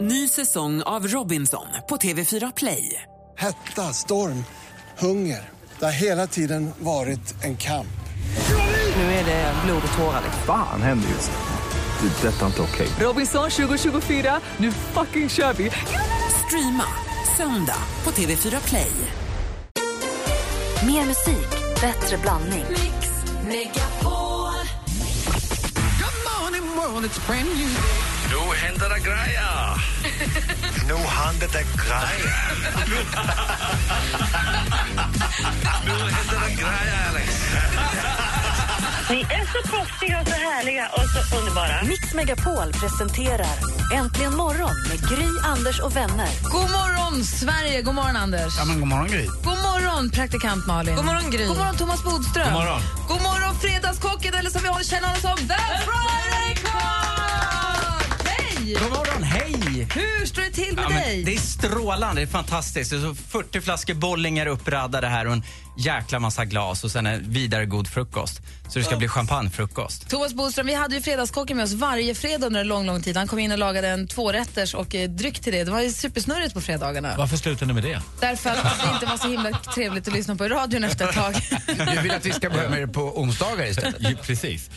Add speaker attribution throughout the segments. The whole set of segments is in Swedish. Speaker 1: Ny säsong av Robinson på TV4 Play.
Speaker 2: Hetta, storm, hunger. Det har hela tiden varit en kamp.
Speaker 1: Nu är det Eh, blod och tårar.
Speaker 3: Fan händer just nu. Det. är Detta är inte okej.
Speaker 1: Robinson 2024, nu fucking kör vi! Streama söndag på TV4 Play.
Speaker 4: Mer musik, bättre blandning.
Speaker 5: Nu händer det grejer!
Speaker 6: Nu händer det grejer.
Speaker 5: Nu händer det grejer, Alex!
Speaker 7: Ni är så proffsiga och så härliga och så underbara.
Speaker 4: Mix Megapol presenterar Äntligen morgon med Gry, Anders och vänner.
Speaker 8: God morgon, Sverige! God morgon, Anders.
Speaker 9: Ja, men god morgon, Gry.
Speaker 8: God morgon, praktikant Malin. God morgon, Gry. God morgon, Thomas Bodström. God
Speaker 9: morgon.
Speaker 8: God morgon, Fredagskocken, eller som vi håller- känner honom som, The Friday Cock! Hej!
Speaker 10: God morgon, hej!
Speaker 8: Hur står det till med
Speaker 10: Ja,
Speaker 8: dig?
Speaker 10: men det är strålande, det är fantastiskt. Det är så 40 flaskor bollingar uppradade här och en jäkla massa glas och sen en vidare god frukost. Så det ska bli champagnefrukost.
Speaker 8: Thomas Bodström, vi hade ju Fredagskocken med oss varje fredag under en lång, lång tid. Han kom in och lagade en tvårätters och eh, dryck till det. Det var ju supersnurrigt på fredagarna.
Speaker 9: Varför slutar ni med det?
Speaker 8: Därför att det inte var så himla trevligt att lyssna på i radion efter ett tag.
Speaker 11: Du vill att vi ska börja med det på onsdagar istället?
Speaker 9: precis.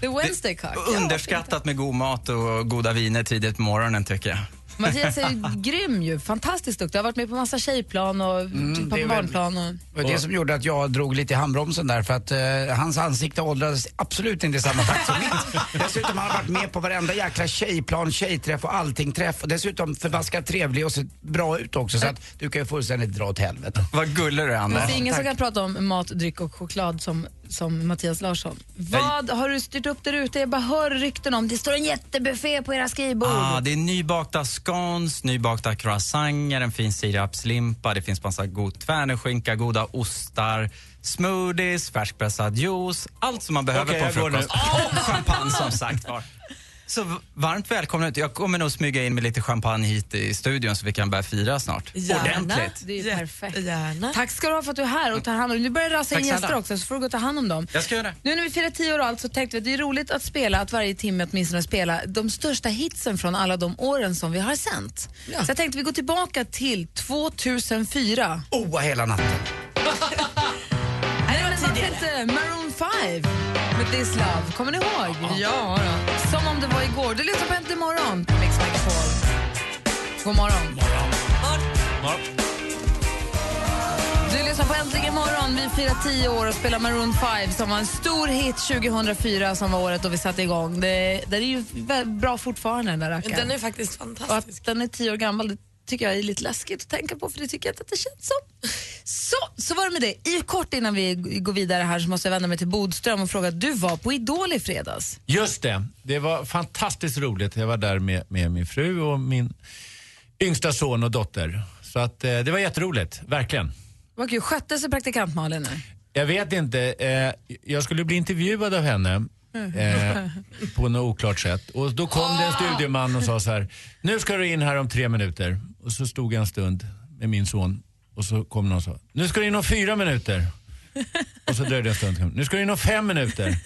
Speaker 8: The Wednesday Cock.
Speaker 10: Underskattat med god mat och goda viner tidigt på morgonen tycker jag.
Speaker 8: Mattias är ju grym ju, fantastiskt duktig. Jag har varit med på massa tjejplan och
Speaker 10: Mm,
Speaker 8: typ
Speaker 11: det
Speaker 8: på
Speaker 11: är
Speaker 8: barnplan. Och...
Speaker 11: Det var det som gjorde att jag drog lite i handbromsen där för att eh, hans ansikte åldrades absolut inte i samma takt som mitt. Dessutom har han varit med på varenda jäkla tjejplan, tjejträff och allting-träff och dessutom förbaskat trevlig och sett bra ut också så att du kan ju fullständigt dra åt helvete.
Speaker 10: Vad gullig du är,
Speaker 8: Det
Speaker 10: Anders.
Speaker 8: finns ingen som kan prata om mat, dryck och choklad som, som Mattias Larsson. Vad har du styrt upp där ute? Jag bara hör rykten om det står en jättebuffé på era skrivbord.
Speaker 10: Ah, det är nybakta scones, nybakta croissanter, en fin sirapslimpa, det finns massa god tvärneskinka, goda ostar, smoothies, färskpressad juice, allt som man behöver
Speaker 9: Okej,
Speaker 10: på en
Speaker 9: jag går
Speaker 10: frukost. Och champagne som sagt var. Så v- varmt välkomna ut. Jag kommer nog smyga in med lite champagne hit i studion så vi kan börja fira snart. Ordentligt.
Speaker 8: Det är ju perfekt. Tack ska du ha för att du är här och tar hand om Nu börjar det rasa in
Speaker 10: Tack snälla.
Speaker 8: gäster också så får du gå och ta hand om dem.
Speaker 10: Jag ska göra det.
Speaker 8: Nu när vi firar tio år och allt så tänkte vi att det är roligt att spela, att varje timme åtminstone spela de största hitsen från alla de åren som vi har sänt. Så jag tänkte vi går tillbaka till 2004.
Speaker 11: Oa hela natten.
Speaker 8: Nej, det var tidigare. Maroon 5 med This Love. Kommer ni ihåg? Ja. Då. Som om det var igår. Du lyssnar på Äntligen morgon på Mix Megapol. God morgon. Du lyssnar på Äntligen morgon. Vi firar tio år och spelar Maroon 5 som var en stor hit 2004 som var året då vi satte igång. Det, den är ju vä- bra fortfarande den där rackaren.
Speaker 12: Den är faktiskt
Speaker 8: och
Speaker 12: fantastisk.
Speaker 8: att den är tio år gammal det tycker jag är lite läskigt att tänka på för det tycker jag inte att det känns som. Så, så var det med det. I kort innan vi g- går vidare här så måste jag vända mig till Bodström och fråga, du var på Idol i fredags.
Speaker 9: Just det. Det var fantastiskt roligt. Jag var där med, med min fru och min yngsta son och dotter. Så att, eh, det var jätteroligt, verkligen.
Speaker 8: Vad kul, skötte sig praktikant Malin nu?
Speaker 9: Jag vet inte, eh, jag skulle bli intervjuad av henne eh, på något oklart sätt. Och då kom det en studieman och sa så här, nu ska du in här om tre minuter. Och så stod jag en stund med min son och så kom någon och sa, nu ska du in om fyra minuter. Och så dröjde det en stund, nu ska du in om fem minuter.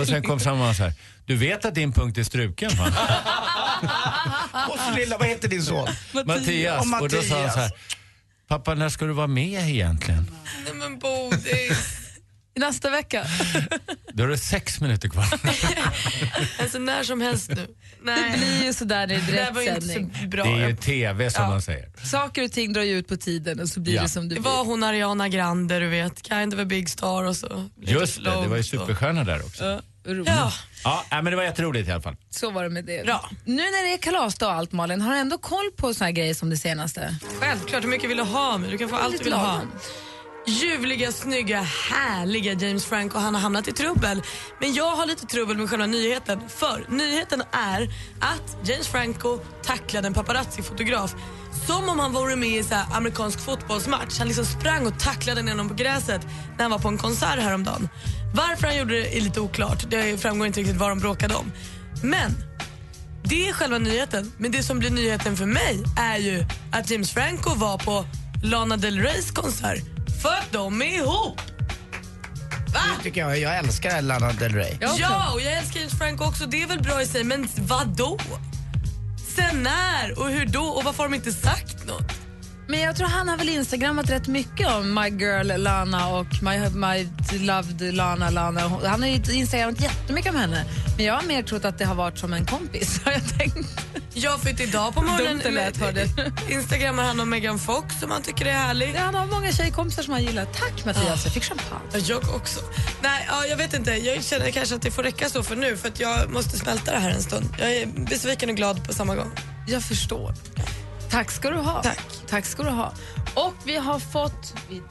Speaker 9: Och sen kom samma man så här, du vet att din punkt är struken va?
Speaker 11: Och så lilla, vad heter din son?
Speaker 9: Mattias.
Speaker 11: Och
Speaker 9: Och då sa han så här, pappa när ska du vara med egentligen?
Speaker 12: Nej men Bodis.
Speaker 8: Nästa vecka.
Speaker 9: Då är det sex minuter kvar.
Speaker 12: Alltså när som helst nu.
Speaker 8: Det
Speaker 12: Nej.
Speaker 8: blir ju sådär när det
Speaker 12: Det
Speaker 8: är
Speaker 12: där var ju inte
Speaker 8: direktsändning.
Speaker 12: så
Speaker 9: Det är
Speaker 12: bra.
Speaker 9: ju TV som man säger.
Speaker 8: Saker och ting drar ju ut på tiden och så blir
Speaker 9: Ja.
Speaker 8: det som det
Speaker 12: Det
Speaker 8: blir.
Speaker 12: var hon Ariana Grande, du vet. Kind of a big star och så. lite
Speaker 9: Just det, det var ju
Speaker 12: flow,
Speaker 9: superstjärna där också.
Speaker 8: Roligt.
Speaker 12: så. Ja,
Speaker 9: Ja, nej, men det var jätteroligt i alla fall.
Speaker 8: Så var det med det.
Speaker 12: Bra.
Speaker 8: Nu när det är kalasdag och allt Malin, har du ändå koll på såna här grejer som det senaste?
Speaker 12: självklart. Hur mycket vill du ha? Men du kan få allt du vill ha.
Speaker 8: lagom.
Speaker 12: Ljuvliga, snygga, härliga James Franco. Han har hamnat i trubbel. Men jag har lite trubbel med själva nyheten. För nyheten är att James Franco tacklade en paparazzi-fotograf som om han vore med i så här amerikansk fotbollsmatch. Han liksom sprang och tacklade ner någon på gräset när han var på en konsert häromdagen. Varför han gjorde det är lite oklart. Det framgår inte riktigt vad de bråkade om. Men det är själva nyheten. Men det som blir nyheten för mig är ju att James Franco var på Lana Del Reys konsert. För att de är ihop!
Speaker 11: Det tycker jag, jag älskar Lana Del Rey.
Speaker 8: Jag också.
Speaker 12: Ja, och jag älskar James Franco också. Det är väl bra i sig, men vadå? Sen när och hur då och varför har de inte sagt något?
Speaker 8: Men jag tror han har väl instagrammat rätt mycket om My Girl Lana och My, my Loved Lana Lana. Hon- Han har ju instagrammat jättemycket om henne. Men jag har mer trott att det har varit som en kompis, har jag tänkt.
Speaker 12: Jag fick idag på morgonen...
Speaker 8: Dumt det lät, hörde.
Speaker 12: Instagrammar han om Megan Fox som han tycker är härlig.
Speaker 8: Han har många tjejkompisar som han gillar. Tack Mattias, jag fick champagne.
Speaker 12: Jag också. Nej, ja, jag vet inte. Jag känner kanske att det får räcka så för nu för att jag måste smälta det här en stund. Jag är besviken och glad på samma gång.
Speaker 8: Jag förstår. Tack ska du ha. Tack. Tack ska du ha. Och vi har fått... Vi, nu,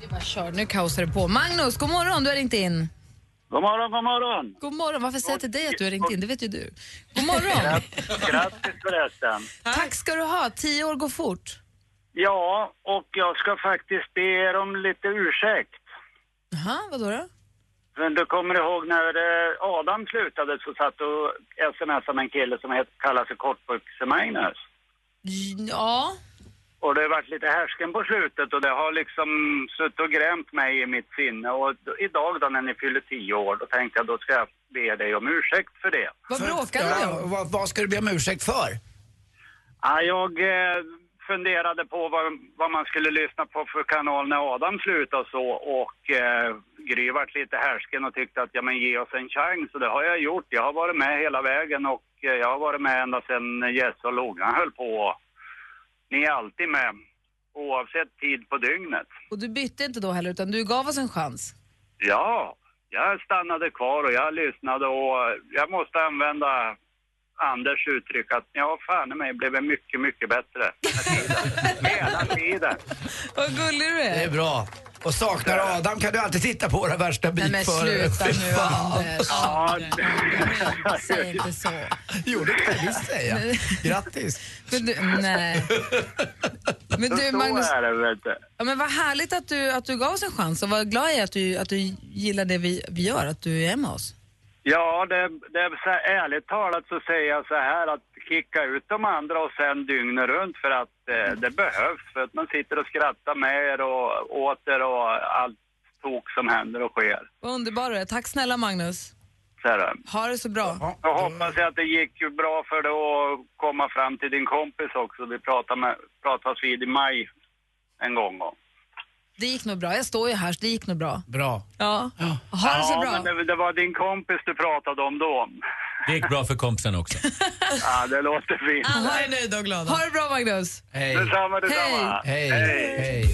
Speaker 8: det är bara kör, nu kaosar det på. Magnus, god morgon, du har ringt in.
Speaker 13: God morgon, god morgon!
Speaker 8: God morgon, varför säger jag till dig att du har ringt in? Det vet ju du. God morgon.
Speaker 13: Gratt- Grattis förresten!
Speaker 8: Tack ska du ha, tio år går fort.
Speaker 13: Ja, och jag ska faktiskt be er om lite ursäkt.
Speaker 8: Jaha, vadå då?
Speaker 13: Men du kommer ihåg när eh, Adam slutade så satt du och smsade med en kille som het, kallar sig Kortbyxe-Magnus.
Speaker 8: Ja.
Speaker 13: Och det har varit lite härsken på slutet och det har liksom suttit och grämt mig i mitt sinne. Och d- idag då när ni fyller tio år, då tänkte jag då ska jag be dig om ursäkt för det.
Speaker 8: Vad bråkade
Speaker 11: ni om? Vad, vad ska du be om ursäkt för?
Speaker 13: Ja, jag eh, funderade på vad, vad man skulle lyssna på för kanal när Adam slutade och så och eh, Gry vart lite härsken och tyckte att ja men ge oss en chans och det har jag gjort. Jag har varit med hela vägen och eh, jag har varit med ända sedan Jesse och Logan höll på. Ni är alltid med oavsett tid på dygnet.
Speaker 8: Och du bytte inte då heller, utan du gav oss en chans.
Speaker 13: Ja, jag stannade kvar och jag lyssnade och jag måste använda Anders uttryck att ja, fan i mig blev det mycket, mycket bättre med tiden. Med hela tiden.
Speaker 8: Vad gullig du är.
Speaker 11: Det är bra. Och saknar du Adam kan du alltid titta på våra värsta
Speaker 8: Nej, men
Speaker 11: bitförare.
Speaker 8: sluta
Speaker 11: Fy
Speaker 8: nu,
Speaker 11: fan.
Speaker 8: Anders.
Speaker 11: Ja.
Speaker 8: Säg inte så.
Speaker 11: Jo, det kan jag visst säga. Grattis.
Speaker 8: Men du, nej. Men
Speaker 13: Så-
Speaker 8: du,
Speaker 13: så
Speaker 8: Magnus,
Speaker 13: är det, vet du.
Speaker 8: Ja, men vad härligt att du, att du gav oss en chans och vad glad jag är att du, att du gillar det vi, vi gör, att du är med oss.
Speaker 13: Ja, det, det är så här, ärligt talat så säger jag så här att kicka ut de andra och sen dygnet runt för att eh, det behövs. För att man sitter och skrattar med er och åter och allt tok som händer och sker.
Speaker 8: Vad underbar du är. Tack snälla Magnus.
Speaker 13: Så här, eh.
Speaker 8: Ha det så bra.
Speaker 13: Jag hoppas jag att det gick ju bra för dig att komma fram till din kompis också. Vi pratar med, pratas vid i maj en gång. Då.
Speaker 8: Det gick nog bra. Jag står ju här, så det gick nog bra.
Speaker 9: Bra.
Speaker 8: Ja. Ha det så
Speaker 13: Ja, men
Speaker 8: bra.
Speaker 13: det, det var din kompis du pratade om då.
Speaker 9: Det gick bra för kompisen också.
Speaker 13: Ja, det låter fint.
Speaker 8: är nöjda och glada. Ha det bra Magnus.
Speaker 9: Hej.
Speaker 13: Detsamma, detsamma.
Speaker 11: Hej.
Speaker 13: Hej.
Speaker 11: Hej.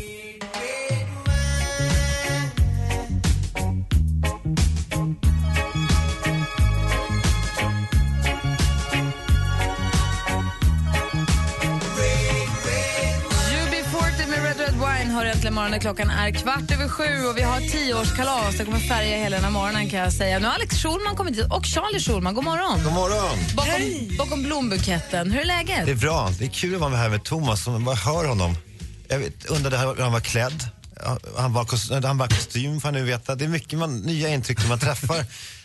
Speaker 8: UB40 med Red Red Wine hör äntligen morgonen. Klockan är kvart över sju och vi har tioårskalas. Det kommer färga hela den här morgonen kan jag säga. Nu har Alex Schulman kommit hit och Charlie Schulman, god morgon.
Speaker 14: God morgon.
Speaker 8: Bakom, bakom blombuketten, hur är läget?
Speaker 14: Det är bra. Det är kul att vara här med Thomas. som- Man bara hör honom. Jag vet, undrade hur han var klädd. Ja, Han var, kostym, han var kostym, får jag nu veta. Det är mycket man, nya intryck när man träffar.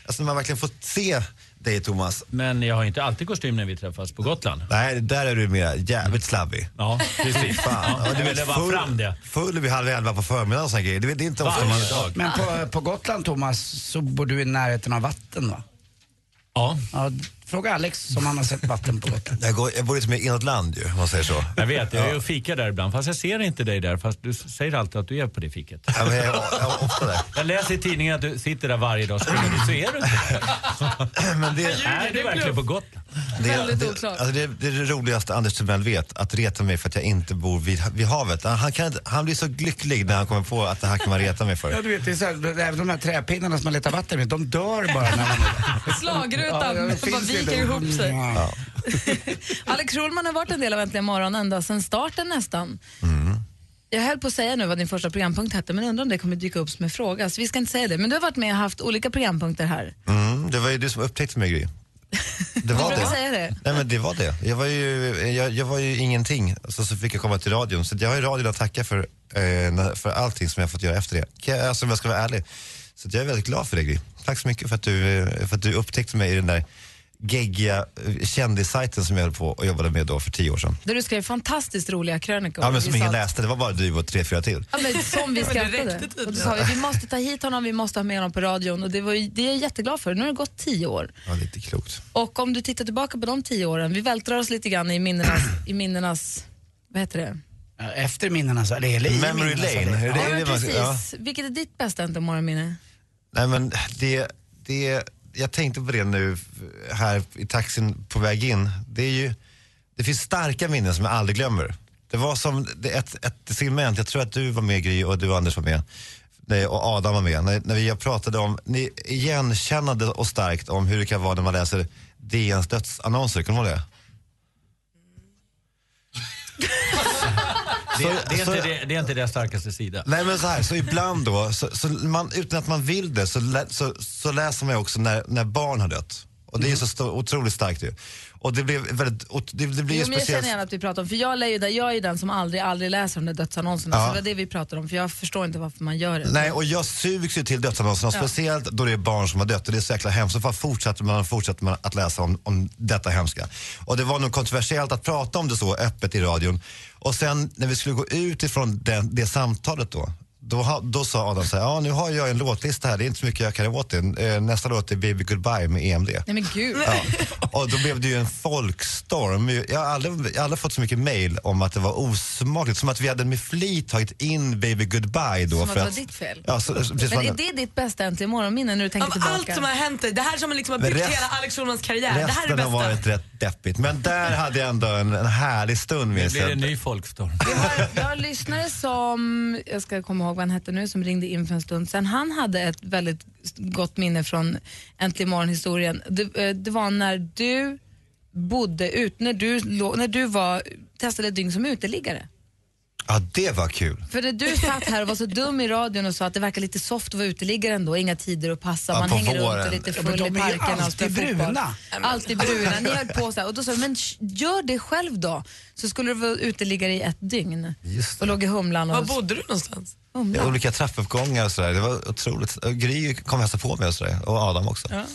Speaker 14: alltså när man verkligen får se dig, Thomas.
Speaker 9: Men jag har inte alltid kostym när vi träffas på Gotland.
Speaker 14: Nej, där är du mer jävligt slabbig.
Speaker 9: Ja, precis.
Speaker 14: Fan.
Speaker 9: Ja,
Speaker 14: Ja,
Speaker 9: jag ville bara fram det.
Speaker 14: Full vid halv elva på förmiddagen och såna grejer. Det, vet- det är inte ofta man...
Speaker 9: Varje dag.
Speaker 11: Men på, på Gotland, Thomas, så bor du i närheten av vatten, va?
Speaker 9: Ja.
Speaker 11: fråga Alex om han har sett vatten på Gotland.
Speaker 14: Jag, går, jag bor lite mer inåt land ju, om man säger så.
Speaker 9: Jag vet, jag är
Speaker 14: Ja.
Speaker 9: och fikar där ibland. Fast jag ser inte dig där. Fast du säger alltid att du är på det fiket.
Speaker 14: Ja, men jag, jag, är ofta där.
Speaker 9: Jag läser i tidningen att du sitter där varje dag och springer. Så är du inte
Speaker 14: Men det,
Speaker 9: Är du verkligen på Gotland?
Speaker 14: Det,
Speaker 9: Väldigt
Speaker 14: det,
Speaker 9: oklart.
Speaker 14: Alltså det, det är det roligaste Anders Timell vet, att reta mig för att jag inte bor vid, vid havet. Han, han, kan, inte- han blir så lycklig när han kommer på att det här kan man reta mig
Speaker 11: Ja,
Speaker 14: för.
Speaker 11: du vet, det är så här, även de här träpinnarna som man letar vatten med, de dör bara när man...
Speaker 8: Slagrutan
Speaker 11: Ja, det finns
Speaker 8: bara viker
Speaker 11: inte.
Speaker 8: ihop sig.
Speaker 11: Ja.
Speaker 8: Alex Schulman har varit en del av Äntligen morgon ända sedan starten nästan.
Speaker 14: Mm.
Speaker 8: Jag höll på att säga nu vad din första programpunkt hette, men undrar om det kommer dyka upp som en fråga. Så vi ska inte säga det. Men du har varit med och haft olika programpunkter här.
Speaker 14: Mm, det var ju du som upptäckte mig Gry. Det
Speaker 8: Du
Speaker 14: var
Speaker 8: brukar
Speaker 14: det.
Speaker 8: säga det.
Speaker 14: Nej men det var det. Jag var ju, jag, jag var ju ingenting, så, så fick jag komma till radion. Så jag har ju radion att tacka för, eh, när- för allting som jag fått göra efter det. Kan jag- Alltså om jag ska vara ärlig. Så att jag är väldigt glad för det Gry. Tack så mycket för att du, eh, för att du upptäckte mig i den där geggiga eh, kändissajten som jag höll på och jobbade med då för tio år sedan.
Speaker 8: Där du skrev fantastiskt roliga krönikor.
Speaker 14: Ja, men som
Speaker 8: Vi
Speaker 14: ingen
Speaker 8: sa-
Speaker 14: läste, det var bara du och tre, fyra till.
Speaker 8: Ja, men som vi
Speaker 12: Men det
Speaker 8: skrattade.
Speaker 12: räckte
Speaker 8: Och då sa vi vi måste ta hit honom, vi måste ha med honom på radion. Och det, var ju, det är jag jätteglad för. Nu har det gått tio år.
Speaker 14: Ja, lite klokt.
Speaker 8: Och om du tittar tillbaka på de tio åren, vi vältrar oss lite grann i minnenas, i minnenas vad heter det?
Speaker 11: Efter minnenas allé, eller i
Speaker 14: Memory
Speaker 11: minnenas
Speaker 14: lane,
Speaker 11: allé.
Speaker 14: är det-
Speaker 8: Ja,
Speaker 14: är
Speaker 8: men
Speaker 14: det man-
Speaker 8: precis.
Speaker 14: ja.
Speaker 8: Vilket är ditt bästa inte morgonminne?
Speaker 14: Nej men det, det, jag tänkte på det nu här i taxin på väg in. Det är ju, det finns starka minnen som jag aldrig glömmer. Det var som det, ett, ett segment, jag tror att du var med Gry och du Anders var med. Nej, Och Adam var med. När, när vi pratade om, ni igenkännande och starkt om hur det kan vara när man läser DNs dödsannonser, kommer du ihåg det?
Speaker 5: Det, det, är
Speaker 14: Så-
Speaker 5: inte, det, det är inte deras starkaste sida.
Speaker 14: Nej men så här, så ibland då, så, så man, utan att man vill det, så, lä, så, så läser man ju också när, när barn har dött. Och
Speaker 8: Mm.
Speaker 14: det är så sto- otroligt starkt ju. Och det blir väldigt, och det, det blir ju
Speaker 8: Jo, men jag
Speaker 14: speciellt.
Speaker 8: känner gärna att vi pratar om, för jag är ju, där, jag är den som aldrig, aldrig läser de där dödsannonserna.
Speaker 14: Ja.
Speaker 8: Så det var det vi pratade om, för jag förstår inte varför man gör det.
Speaker 14: Nej, och jag sugs ju till dödsannonserna,
Speaker 8: Ja.
Speaker 14: speciellt då det är barn som har dött och det är så jäkla hemskt. Så bara fortsätter man, fortsätter man att läsa om, om detta hemska. Och det var nog kontroversiellt att prata om det så öppet i radion. Och sen när vi skulle gå ut ifrån det, det samtalet då, då, ha- då sa Adam så här, ja nu har jag en låtlista här, det är inte så mycket jag kan göra åt det. Eh, Nästa låt är Baby Goodbye med E EMD.
Speaker 8: Nej men gud.
Speaker 14: Och då blev det ju en folkstorm. Jag har aldrig, jag har aldrig fått så mycket mail om att det var osmakligt. Som att vi hade med flit tagit in Baby Goodbye då.
Speaker 8: Som att
Speaker 14: för
Speaker 8: det var ditt fel.
Speaker 14: Ja, så, så, precis,
Speaker 8: men är
Speaker 14: man-
Speaker 8: det ditt bästa äntligen morgonminne när du tänker
Speaker 12: Av
Speaker 8: tillbaka?
Speaker 12: allt som har hänt dig, det här som liksom har
Speaker 14: Men
Speaker 12: byggt
Speaker 14: rest-
Speaker 12: hela Alex Schulmans karriär, det här är det
Speaker 14: Resten har
Speaker 12: bästa.
Speaker 14: varit rätt deppigt. Men där hade jag ändå en, en härlig stund
Speaker 5: Det
Speaker 14: minns
Speaker 5: blir en
Speaker 14: jag.
Speaker 5: ny folkstorm.
Speaker 8: Jag har en lyssnare som, jag ska komma ihåg vad han hette nu, som ringde in för en stund sedan. Han hade ett väldigt gott minne från Äntligen morgon-historien. Det, eh, det var när du bodde ut, när du, lå- när du var, testade ett dygn som uteliggare.
Speaker 14: Ja, det var kul.
Speaker 8: För när du satt här och var så dum i radion och sa att det verkar lite soft att vara uteliggare ändå, inga tider att passa,
Speaker 14: Ja,
Speaker 8: man
Speaker 14: på
Speaker 8: hänger runt
Speaker 14: våren.
Speaker 8: och lite
Speaker 14: Ja,
Speaker 8: full
Speaker 11: men
Speaker 8: i
Speaker 11: de är ju
Speaker 8: parken och
Speaker 11: alltid
Speaker 8: spelar
Speaker 11: bruna.
Speaker 8: Fotboll. Alltid bruna. Ni höll på så här. Och då sa jag, men sh- gör det själv då, så skulle du vara uteliggare i ett dygn.
Speaker 14: Just
Speaker 8: och låg i Humlan. Och
Speaker 12: Var bodde du någonstans?
Speaker 14: det.
Speaker 8: Humlan.
Speaker 14: Olika trappuppgångar och sådär. Det var otroligt. Och Gry kom och hälsade på mig och sådär. Och Adam också.
Speaker 12: Ja.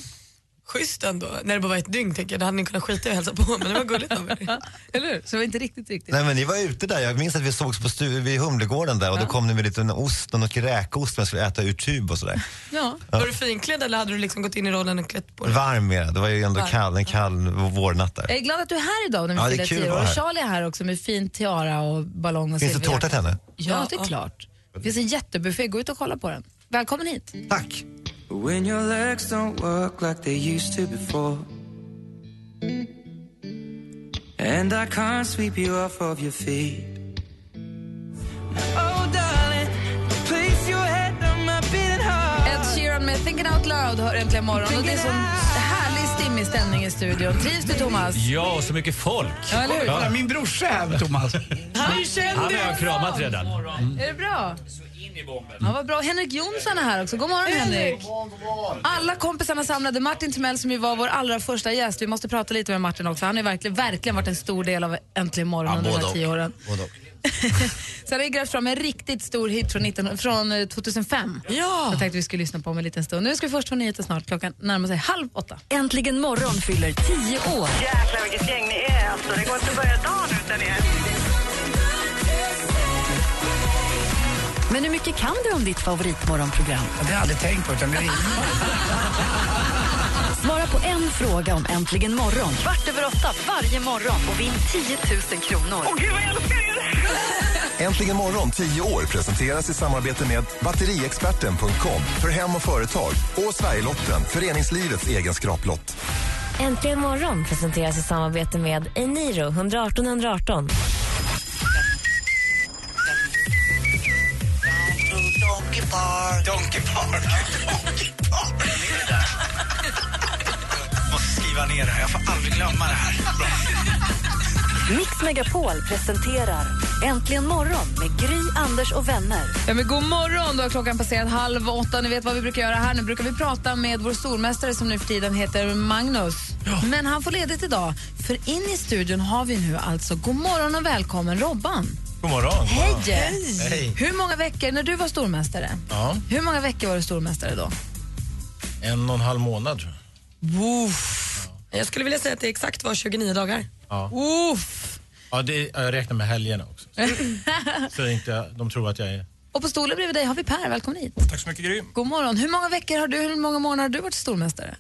Speaker 12: Schysst ändå, när det bara var ett dygn tänker jag. Då hade ni kunnat skita i att hälsa på men det var gulligt av er.
Speaker 8: Eller hur? Så det var inte riktigt riktigt.
Speaker 14: Nej men ni var ute där. Jag minns att vi sågs på stu- vid Humlegården där och då kom ni med lite en ost, någon räkost som jag skulle äta ur tub och sådär.
Speaker 12: Ja.
Speaker 14: Ja.
Speaker 12: Var du finklädd eller hade du liksom gått in i rollen och klätt på dig?
Speaker 14: Varm era. Det var ju ändå
Speaker 12: Varm.
Speaker 14: kall, en kall vårnatt där.
Speaker 8: Jag är glad att du är här idag när vi
Speaker 14: Ja, det
Speaker 8: firar
Speaker 14: är kul att
Speaker 8: tio år.
Speaker 14: vara
Speaker 8: Och
Speaker 14: här.
Speaker 8: Charlie är här också med fin tiara och ballong och
Speaker 14: Finns det tårta
Speaker 8: silverjacka.
Speaker 14: till henne?
Speaker 8: Ja, det är klart. Det finns en jättebuffé, gå ut och kolla på den. Välkommen hit.
Speaker 14: Tack.
Speaker 15: When your legs don't work like they used to before. And I can't sweep you off of your feet. Oh, darling, place your head on my beating heart.
Speaker 8: Ed Sheeran med Thinking Out Loud hör äntligen morgon och det är sån härlig stimmig stämning i studion. Trivs du Thomas?
Speaker 5: Ja, och så mycket folk.
Speaker 8: Ja, eller hur?
Speaker 11: Kolla, min brorsa är här, Thomas.
Speaker 8: Han är ju
Speaker 5: Han har jag kramat redan.
Speaker 8: Är det bra? Ja, vad bra. Henrik Jonsson är här också. God morgon Henrik. Alla kompisarna samlade. Martin Timell som ju var vår allra första gäst. Vi måste prata lite med Martin också. Han har ju verkligen, verkligen varit en stor del av Äntligen morgon under de här tio åren. Sen har vi grävt fram en riktigt stor hit från, 19, från eh, 2005. Ja. Jag tänkte vi skulle lyssna på om en liten stund. Nu ska vi först få nyheter snart. Klockan närmar sig halv åtta.
Speaker 4: Äntligen morgon fyller 10 år.
Speaker 7: Jäklar vilket gäng ni är alltså. Det går inte att börja dagen utan er.
Speaker 4: Men hur mycket kan du om ditt favoritmorgonprogram?
Speaker 11: Det har jag aldrig tänkt på. Utan det är...
Speaker 4: Svara på en fråga om Äntligen morgon. Kvart över åtta varje morgon och vinn 10 000 kronor. Åh, gud vad jag älskar
Speaker 16: Äntligen morgon 10 år presenteras i samarbete med batteriexperten.com för hem och företag och Sverigelotten, föreningslivets egen skraplott.
Speaker 17: Äntligen morgon presenteras i samarbete med Eniro 118 118.
Speaker 6: Donkey Park. Donkey Park. Donkey Park. Är det där? Jag måste skriva ner det här. Jag får aldrig glömma det här.
Speaker 4: Mix Megapol presenterar Äntligen morgon med Gry, Anders och vänner.
Speaker 8: Ja, men god morgon! Då har klockan passerat halv åtta. Ni vet vad vi brukar göra här. Nu brukar vi prata med vår stormästare som nu för tiden heter Magnus. Men han får ledigt idag. För in i studion har vi nu alltså god morgon och välkommen Robban.
Speaker 18: God morgon.
Speaker 8: Hej! Hur många veckor, när du var stormästare,
Speaker 18: Ja,
Speaker 8: hur många veckor var du stormästare då?
Speaker 18: en och en halv månad tror jag.
Speaker 8: Woof.
Speaker 12: Jag skulle vilja säga att det exakt var 29 dagar.
Speaker 18: Ja.
Speaker 12: Uff.
Speaker 18: Ja, det, ja, jag räknar med helgerna också. Så inte, de tror att jag är...
Speaker 8: Och på stolen bredvid dig har vi Per, välkommen hit.
Speaker 19: Tack så mycket Gry.
Speaker 8: God morgon. Hur många veckor har du, hur många månader har du varit stormästare?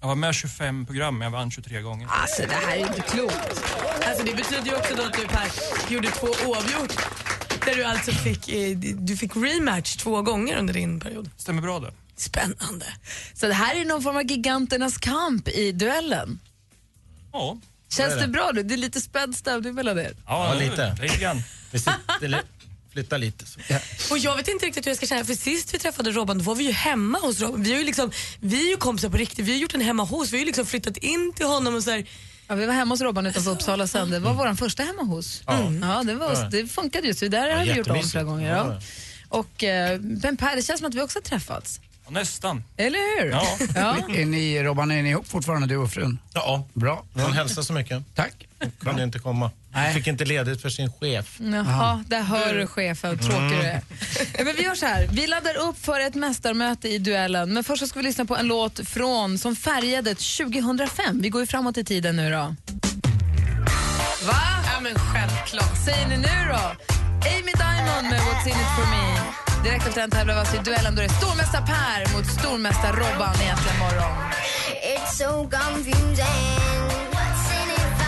Speaker 19: Jag var med 25 program, men jag vann 23 gånger.
Speaker 8: Alltså det här är ju inte klokt.
Speaker 12: Alltså det betyder ju också då att du Per gjorde två oavgjort. Där du alltså fick, eh, du fick rematch två gånger under din period.
Speaker 19: Stämmer bra det.
Speaker 12: Spännande.
Speaker 8: Så det här är någon form av giganternas kamp i duellen.
Speaker 19: Ja.
Speaker 8: Känns
Speaker 18: är
Speaker 8: det.
Speaker 18: det.
Speaker 8: bra nu? Det är lite spänd stämning mellan er.
Speaker 18: Ja, lite.
Speaker 19: Lite grann.
Speaker 18: Vi sitter, eller, flyttar lite. Så.
Speaker 12: Och jag vet inte riktigt hur jag ska känna för sist vi träffade Robban då var vi ju hemma hos Robban. Vi, är ju liksom, vi är ju kompisar på riktigt, vi har gjort en hemma hos, vi har ju liksom flyttat in till honom och så här,
Speaker 8: Ja, vi var hemma hos Robban utanför Uppsala sen. Det var vår första hemma hos.
Speaker 12: Mm. Ja.
Speaker 8: Mm. Ja, det, var,
Speaker 12: Ja.
Speaker 8: det funkade ju. Så där har vi gjort om
Speaker 19: jättemysigt.
Speaker 8: flera gånger.
Speaker 19: Ja.
Speaker 8: Ja. Och, eh, men Per, det känns som att vi också har träffats.
Speaker 19: Ja, nästan.
Speaker 8: Eller hur?
Speaker 19: Ja.
Speaker 11: Är ni, Robban, är ni ihop fortfarande du och frun?
Speaker 18: Ja.
Speaker 11: Bra.
Speaker 18: Han hälsar så mycket.
Speaker 11: Tack.
Speaker 18: kunde inte komma. Fick inte ledigt för sin chef.
Speaker 8: Jaha, där hör du chefen hur tråkig du är. Eh, Men vi gör så här, vi laddar upp för ett mästarmöte i duellen. Men först så ska vi lyssna på en låt från som färgade 2005. Vi går ju framåt i tiden nu då. Va? Ja, men självklart. Säger ni nu då? Amy Diamond med What's in it for me. Direkt efter den tävlar vi alltså i duellen då det är stormästare Per mot stormästare Robban egentligen imorgon.
Speaker 15: It's so confusing. What's in it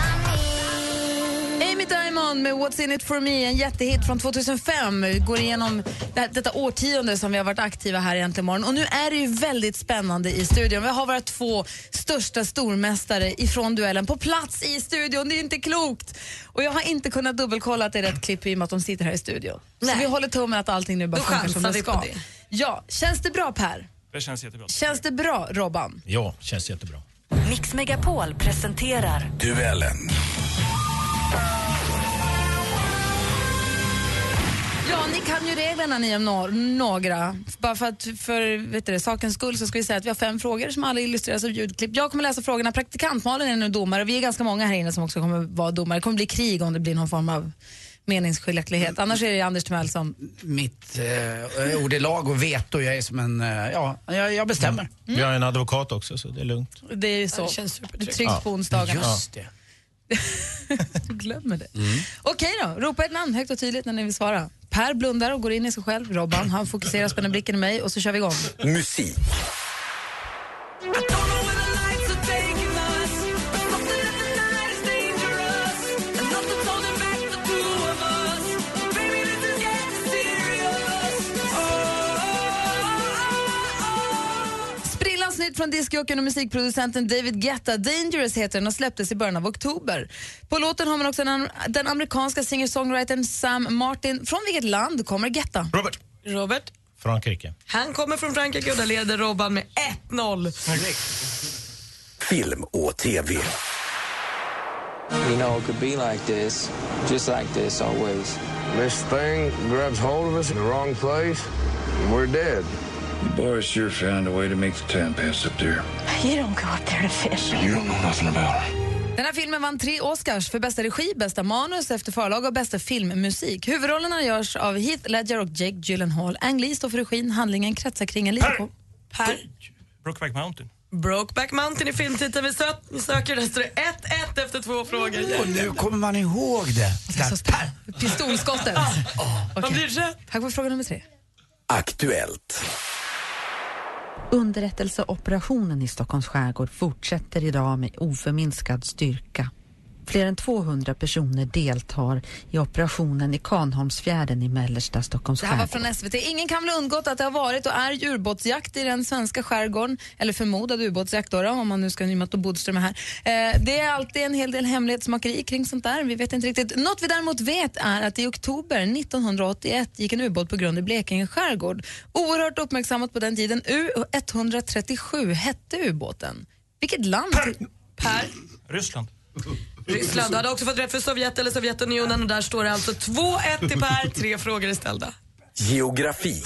Speaker 15: for me?
Speaker 8: Amy Diamond med What's in it for me, en jättehit från 2005. Vi Går igenom det här, detta årtionde som vi har varit aktiva här i Äntligen morgon. Och nu är det ju väldigt spännande i studion. Vi har våra två största stormästare ifrån duellen på plats i studion. Det är inte klokt! Och jag har inte kunnat dubbelkolla att det är rätt klipp i och med att de sitter här i studion. Så vi håller tummen att allting nu bara
Speaker 12: Då
Speaker 8: funkar som
Speaker 12: chansar
Speaker 8: det
Speaker 12: vi på
Speaker 8: ska.
Speaker 12: det.
Speaker 8: Ja, känns det bra Per?
Speaker 19: Det känns jättebra.
Speaker 8: Känns det bra Robban?
Speaker 18: Ja, känns jättebra.
Speaker 4: Mix Megapol presenterar
Speaker 18: Duellen.
Speaker 8: Ja, ni kan ju reglerna ni om no några. Bara för att för vet du, det, sakens skull så ska vi säga att vi har fem frågor som alla illustreras av ljudklipp. Jag kommer läsa frågorna, praktikantmalen är nu domare och vi är ganska många här inne som också kommer vara domare. Det kommer bli krig om det blir någon form av
Speaker 12: Mm.
Speaker 8: meningsskiljaktighet. Annars är det Anders Timell som...
Speaker 11: Mitt eh, ord är lag och veto. Jag är som en... Eh, ja, jag, jag bestämmer.
Speaker 18: Vi har en advokat också, så det är lugnt.
Speaker 8: Det är ju så.
Speaker 12: det känns
Speaker 8: det trycks på onsdagarna.
Speaker 18: det.
Speaker 8: Du glömmer det. Okej då, ropa ett namn högt och tydligt när ni vill svara. Per blundar och går in i sig själv. Robban, han fokuserar, spänner blicken i mig och så kör vi igång.
Speaker 20: Musik.
Speaker 8: Sprillans nytt från diskjockeyn och musikproducenten David Guetta, Dangerous heter den och släpptes i början av oktober. På låten har man också den, den amerikanska singer-songwritern Sam Martin. Från vilket land kommer Guetta?
Speaker 18: Robert.
Speaker 12: Robert,
Speaker 18: Frankrike.
Speaker 12: han kommer från Frankrike och där leder Robban med 1-0.
Speaker 20: Film och TV.
Speaker 21: You know, it could be like this, just like this always.
Speaker 22: This thing grabs hold of us in the wrong place, and we're dead. The boys sure found a way to make the time pass up there.
Speaker 8: You don't go up there to fish.
Speaker 22: You don't know nothing about her.
Speaker 8: Den här filmen vann tre Oscars för bästa regi, bästa manus, efter förlag och bästa filmmusik. Huvudrollerna görs av Heath Ledger och Jake Gyllenhaal. Ang Lee står för regin, handlingen kretsar kring en liten...
Speaker 12: Per.
Speaker 19: Brokeback Mountain.
Speaker 12: Brokeback Mountain i filmtiteln vi sö- söker. Där står det 1-1 efter två frågor.
Speaker 11: Och nu kommer man ihåg det.
Speaker 8: Pistolskottet.
Speaker 12: Man blir rädd.
Speaker 8: Här går fråga nummer tre.
Speaker 20: Aktuellt.
Speaker 23: Underrättelseoperationen i Stockholms skärgård fortsätter idag med oförminskad styrka. Fler än 200 personer deltar i operationen i Kanholmsfjärden i mellersta Stockholms
Speaker 8: Det här var
Speaker 23: skärgård.
Speaker 8: från SVT. Ingen kan väl ha undgått att det har varit och är ju ubåtsjakt i den svenska skärgården, eller förmodad ubåtsjakt då, då, om man nu ska nymma att Bodström är här. Eh, det är alltid en hel del hemlighetsmakeri kring sånt där. Vi vet inte riktigt. Något vi däremot vet är att i oktober 1981 gick en ubåt på grund i Blekinge skärgård. Oerhört uppmärksammat på den tiden. U137 hette ubåten. Vilket land? per.
Speaker 19: Ryssland.
Speaker 12: Ryssland hade också fått rätt för Sovjet eller Sovjetunionen och där står det alltså 2-1 till Per, tre frågor är ställda.
Speaker 20: Geografi.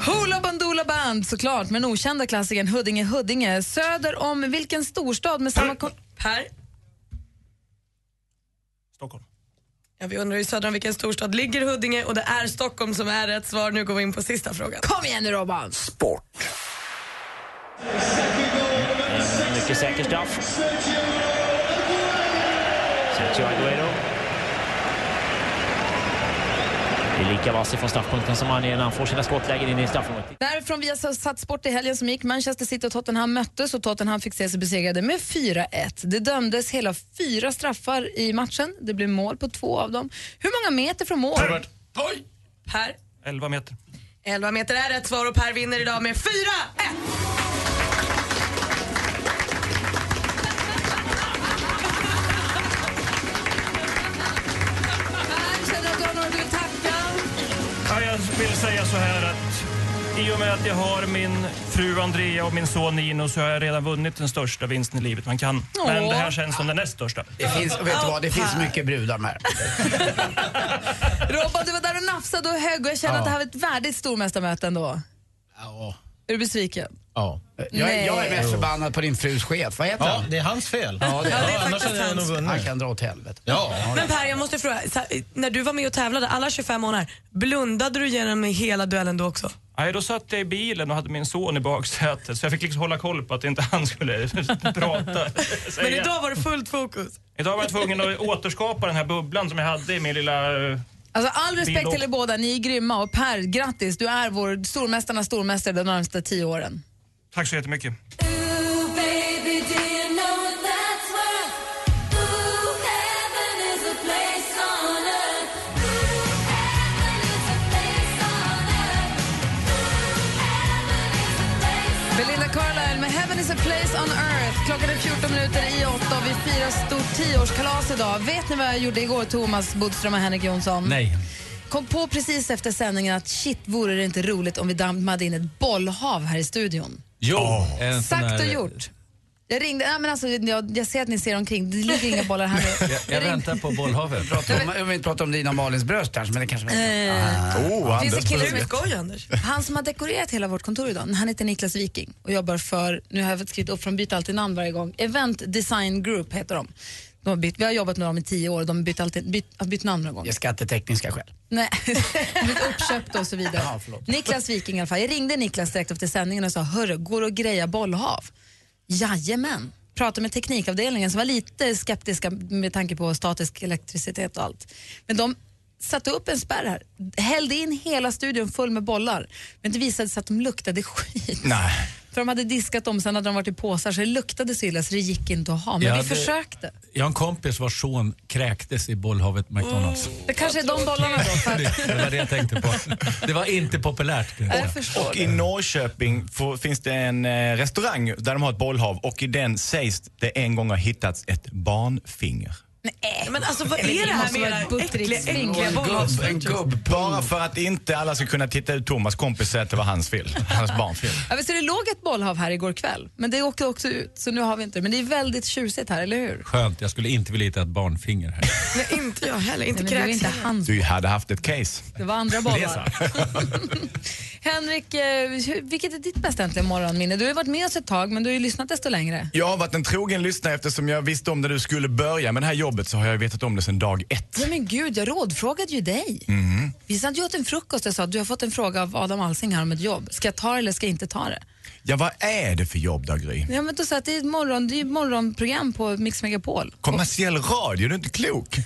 Speaker 8: Hoola Bandoola Band såklart, men okända klassikern Huddinge Huddinge. Söder om vilken storstad med samma... Per?
Speaker 19: Stockholm.
Speaker 12: Ja, vi undrar ju söder om vilken storstad ligger Huddinge och det är Stockholm som är rätt svar. Nu går vi in på sista frågan.
Speaker 8: Kom igen nu Robban!
Speaker 20: Sport.
Speaker 1: Eh, mycket säker straff. Sergio Aguero. Det är lika vass från straffpunkten som han är när han får sina skottlägen in i straffområdet.
Speaker 8: Därifrån vi har satt sport i helgen som gick. Manchester City och Tottenham möttes och Tottenham fick se sig besegrade med 4-1. Det dömdes hela fyra straffar i matchen. Det blev mål på två av dem. Hur många meter från mål?
Speaker 19: Herbert. Oj!
Speaker 12: Per,
Speaker 19: 11 meter.
Speaker 12: 11 meter är rätt svar och Per vinner idag med 4-1.
Speaker 8: Känner att du har några du vill tacka?
Speaker 19: Ja, jag vill säga så här att i och med att jag har min fru Andrea och min son Nino så har jag redan vunnit den största vinsten i livet man kan. Men det här känns som den näst största.
Speaker 11: Det finns, och vet du vad, det finns mycket brudar med.
Speaker 8: Robban, du var där och nafsade och högg och jag känner
Speaker 11: Ja.
Speaker 8: att det här var ett värdigt stormästarmöte ändå. Är du besviken?
Speaker 11: Ja. Jag, är- jag är mest
Speaker 18: Nej.
Speaker 11: förbannad på din frus chef. Vad heter
Speaker 18: Ja,
Speaker 11: han?
Speaker 18: det är hans fel.
Speaker 11: Ja, det är,
Speaker 18: Ja,
Speaker 11: det.
Speaker 18: annars
Speaker 12: faktiskt hade jag hans nog fel. vunnit.
Speaker 11: Han kan dra åt helvete.
Speaker 18: Ja.
Speaker 12: Men Per, jag måste fråga. Så här, när du var med och tävlade alla 25 månader, blundade du genom hela duellen då också?
Speaker 19: Nej, då satt jag i bilen och hade min son i baksätet så jag fick liksom hålla koll på att inte han skulle prata.
Speaker 12: Men idag var det fullt fokus.
Speaker 19: Idag var jag tvungen att återskapa den här bubblan som jag hade i min lilla... eh,
Speaker 8: Alltså all respekt
Speaker 19: Bild-
Speaker 8: till er båda, ni är grymma och Per, grattis, du är vår stormästarnas stormästare de närmaste tio åren.
Speaker 19: Tack så jättemycket.
Speaker 9: Mm.
Speaker 8: Belinda Carlisle med Heaven is a place on earth. Klockan är 14 minuter i åtta och vi firar stort tioårskalas idag. Vet ni vad jag gjorde igår, Thomas Bodström och Henrik Jonsson?
Speaker 10: Nej.
Speaker 8: Kom på precis efter sändningen att shit, vore det inte roligt om vi dammade in ett bollhav här i studion?
Speaker 10: Jo.
Speaker 9: En sån
Speaker 8: Sagt och
Speaker 9: här-
Speaker 8: gjort. Jag ringde, nej men alltså, jag, jag ser att ni ser omkring, det ligger inga bollar här nu.
Speaker 9: Jag, jag väntar på bollhavet.
Speaker 11: Prata om, om vi inte pratar om dina och Malins bröst kanske, men det kanske...
Speaker 8: Eh,
Speaker 11: Oh,
Speaker 8: finns det killar som är
Speaker 12: skoj, Anders?
Speaker 8: Han som har dekorerat hela vårt kontor idag, han heter Niklas Wiking och jobbar för, nu har jag skrivit upp från byter alltid namn varje gång, Event Design Group heter de. de har bytt, vi har jobbat med dem i tio år och de har bytt, alltid, bytt, har bytt namn någon gång.
Speaker 11: Det är skattetekniska skäl.
Speaker 8: Nej, blivit uppköpt och så vidare.
Speaker 11: Ja, förlåt.
Speaker 8: Niklas Wiking i alla fall. Jag ringde Niklas direkt efter sändningen och sa, hörru, går det att greja bollhav? Jajamän. Pratade med teknikavdelningen som var lite skeptiska med tanke på statisk elektricitet och allt. Men de satte upp en spärr här, hällde in hela studion full med bollar. Men det visade sig att de luktade skit.
Speaker 9: Nej.
Speaker 8: För de hade diskat dem, sen hade de varit i påsar så det luktade så illa så det gick inte att ha. Men
Speaker 9: Jag
Speaker 8: vi
Speaker 9: hade-
Speaker 8: försökte.
Speaker 9: Jag har en kompis vars son kräktes i bollhavet McDonalds.
Speaker 8: Det kanske är de bollarna då. För att...
Speaker 9: Det var det jag tänkte på. Det var inte populärt. kan jag säga.
Speaker 8: Jag förstår
Speaker 2: Och
Speaker 8: det.
Speaker 2: i Norrköping får, finns det en eh, restaurang där de har ett bollhav och i den sägs det en gång har hittats ett barnfinger.
Speaker 12: Nej, men alltså vad
Speaker 8: Men det
Speaker 12: är det här
Speaker 8: måste
Speaker 12: med
Speaker 8: vara ett
Speaker 12: era äckliga,
Speaker 8: buttricksving.
Speaker 12: äckliga bollhavsfötter?
Speaker 2: Bara för att inte alla ska kunna titta ut Thomas kompis och säga att det var hans fel. Hans barnfilm.
Speaker 8: Ja, visst, är det låg ett bollhav här igår kväll, men det åkte också ut så nu har vi inte det. Men det är väldigt tjusigt här, eller hur?
Speaker 9: Skönt, jag skulle inte vilja hitta ett barnfinger här.
Speaker 12: Nej, inte jag heller. Inte
Speaker 8: Nej, men det var
Speaker 12: kräks.
Speaker 8: inte han,
Speaker 2: Du hade haft ett case.
Speaker 8: det var andra bollar.
Speaker 2: Lesa.
Speaker 8: Henrik, eh, hur- vilket är ditt bästa äntligen morgonminne? Du har ju varit med oss ett tag, men du har ju lyssnat desto längre.
Speaker 2: Jag har varit en trogen lyssnare eftersom jag visste om när du skulle börja med det här jobbet så har jag vetat om det sedan dag ett.
Speaker 8: Ja, men gud, jag rådfrågade ju dig.
Speaker 2: Mhm.
Speaker 8: Vi satt ju åt en frukost och sa att du har fått en fråga av Adam Alsing här om ett jobb. Ska jag ta det eller ska jag inte ta det?
Speaker 2: Ja, vad är det för jobb då, Gry?
Speaker 8: Ja, men då sa jag att det är ett morgon, det är ett morgonprogram på Mix Megapol.
Speaker 2: Kommersiell radio, du är inte klok.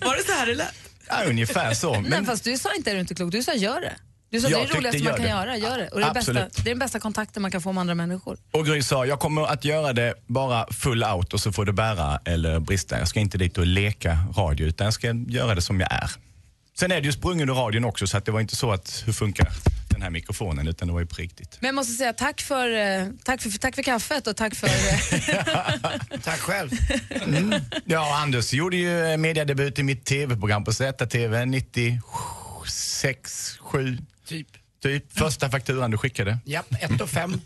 Speaker 12: Var det så här det lät?
Speaker 2: Ja, ungefär så.
Speaker 8: Nej,
Speaker 2: Men
Speaker 8: fast du sa inte är du inte klok, du sa gör det. Du sa
Speaker 2: Jag
Speaker 8: det är det
Speaker 2: tyckte
Speaker 8: roligaste
Speaker 2: gör
Speaker 8: man kan
Speaker 2: det.
Speaker 8: göra, gör det. Och det är, bästa, det
Speaker 2: Absolut.
Speaker 8: är den bästa kontakten man kan få med andra människor.
Speaker 2: Och Gry sa, jag kommer att göra det bara full out och så får det bära eller brista. Jag ska inte dit och leka radio utan jag ska göra det som jag är. Sen är det ju sprungen ur radion också så att det var inte så att hur funkar den här mikrofonen utan det var ju på riktigt.
Speaker 8: Men jag måste säga tack för, eh, tack för, tack för kaffet och tack för... eh,
Speaker 2: Tack själv. Mm. Ja, Anders gjorde ju mediadebut i mitt tv-program på ZTV 96, 7. Typ. Typ första fakturan du skickade.
Speaker 11: Japp, 1 och 5.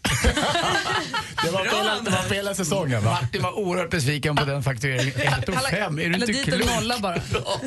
Speaker 2: Det var, på hela, det var på hela säsongen va?
Speaker 11: Martin var oerhört besviken på den faktureringen. 1 och 5, är du
Speaker 8: Eller
Speaker 11: inte
Speaker 8: dit en
Speaker 11: klok?
Speaker 8: nolla bara.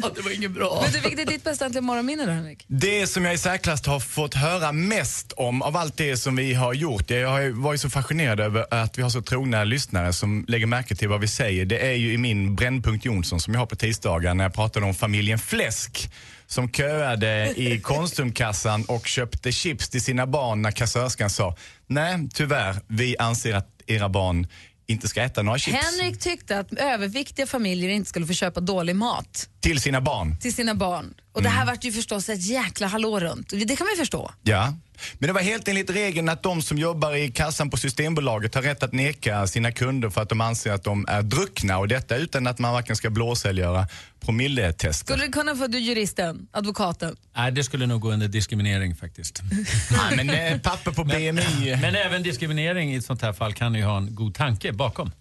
Speaker 11: Ja, det var inget bra.
Speaker 8: Men du, vilket är ditt bästa äntligen morgonminne då, Henrik?
Speaker 2: Det som jag i särklass har fått höra mest om av allt det som vi har gjort, jag har ju- var ju så fascinerad över att vi har så trogna lyssnare som lägger märke till vad vi säger. Det är ju i min Brännpunkt Jonsson som jag har på tisdagar när jag pratade om familjen Fläsk som köade i Konsumkassan och köpte chips till sina barn när kassörskan sa nej tyvärr, vi anser att era barn inte ska äta några chips
Speaker 8: Henrik tyckte att överviktiga familjer inte skulle få köpa dålig mat
Speaker 2: till sina barn.
Speaker 8: till sina barn. Och det
Speaker 2: Mm.
Speaker 8: här vart ju förstås ett jäkla hallå runt. Det kan man ju förstå.
Speaker 2: Ja. Men det var helt enligt regeln att de som jobbar i kassan på Systembolaget har rätt att neka sina kunder för att de anser att de är druckna och detta utan att man varken ska blåsälgöra promilletest.
Speaker 8: Skulle du kunna få, du juristen, advokaten,
Speaker 9: Nej, det skulle nog gå under diskriminering faktiskt.
Speaker 2: Nej, men eh, papper på BMI.
Speaker 9: Men även diskriminering i ett sånt här fall kan ju ha en god tanke bakom.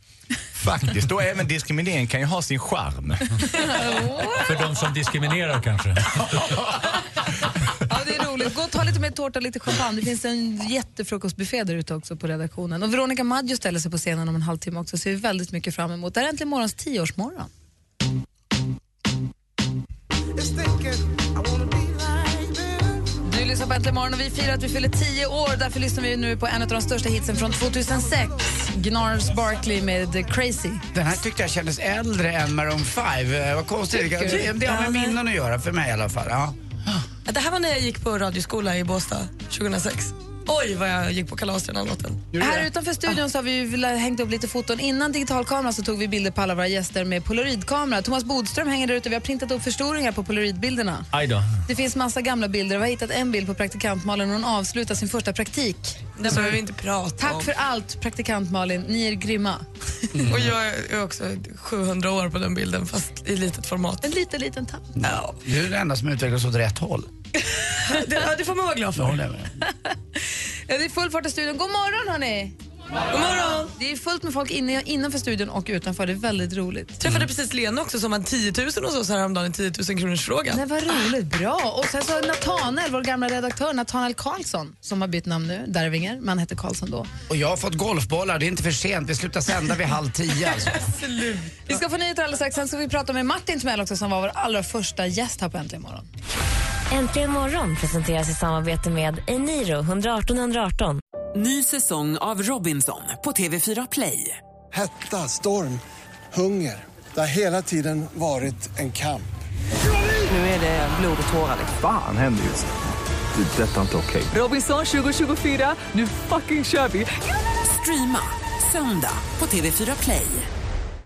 Speaker 2: Faktiskt, då även diskriminering kan ju ha sin charm.
Speaker 9: För de som diskriminerar kanske.
Speaker 8: Ja, det är roligt. Gå och ta lite mer tårta, lite champagne. Det finns en jättefrukostbuffé där ute också på redaktionen. Och Veronica Maggio ställer sig på scenen om en halvtimme också, så vi är väldigt mycket fram emot. Det här är äntligen morgons tioårsmorgon. Du lyssnar på Äntligen morgon och vi firar att vi fyller tio år. Därför lyssnar vi nu på en av de största hitsen från 2006. Gnars Barkley med Crazy.
Speaker 11: Den här tyckte jag kändes äldre än Maroon 5. Eh, Vad konstigt.
Speaker 12: Tycker
Speaker 11: Det,
Speaker 12: du?
Speaker 11: det har med minnen att göra, för mig i alla fall. Ja.
Speaker 12: Det här var när jag gick på radioskola i Båstad 2006. Oj, vad jag gick på kalas till den här låten.
Speaker 8: Här utanför studion så har vi ju hängt upp lite foton. Innan digitalkamera så tog vi bilder på alla våra gäster med polaroidkamera. Thomas Bodström hänger där ute. Vi har printat upp förstoringar på polaroidbilderna.
Speaker 9: Aj då.
Speaker 8: Det finns massa gamla bilder. Vi har hittat en bild på praktikant Malin när hon avslutar sin första praktik.
Speaker 12: Den behöver vi inte prata
Speaker 8: Tack
Speaker 12: om.
Speaker 8: för allt, praktikant Malin. Ni är grymma.
Speaker 12: Och jag är också 700 år på den bilden, fast i litet format.
Speaker 8: En liten, liten tapp.
Speaker 11: Ja. Du är den enda som utvecklas åt rätt håll.
Speaker 12: det, det får man vara glad för.
Speaker 8: Ja, det är full fart i studion. God morgon, hörni!
Speaker 12: God morgon!
Speaker 8: Det är fullt med folk inne, innanför studion och utanför. Det är väldigt roligt.
Speaker 12: Träffade precis Lena också som hade 10 000 och så, så häromdagen i 10 000 kronors frågan.
Speaker 8: Nej, vad roligt. Bra. Och sen så har Nathanael, vår gamla redaktör, Nathanael Karlsson, som har bytt namn nu, Dervinger, men han hette Karlsson då.
Speaker 11: Och jag har fått golfbollar, det är inte för sent. Vi slutar sända vid halv tio alltså.
Speaker 8: Vi ska få nyheter alldeles strax. Sen ska vi prata med Martin Timell också som var vår allra första gäst här på Äntligen morgon.
Speaker 17: Äntligen morgon presenteras i samarbete med Eniro 118 118.
Speaker 3: Ny säsong av Robinson på TV4 Play.
Speaker 13: Hetta, storm, hunger. Det har hela tiden varit en kamp.
Speaker 3: Nu är det blod och tårar. liksom.
Speaker 14: Fan händer just nu. Det. är Detta är inte okej.
Speaker 3: Robinson 2024, nu fucking kör vi! Streama söndag på TV4 Play.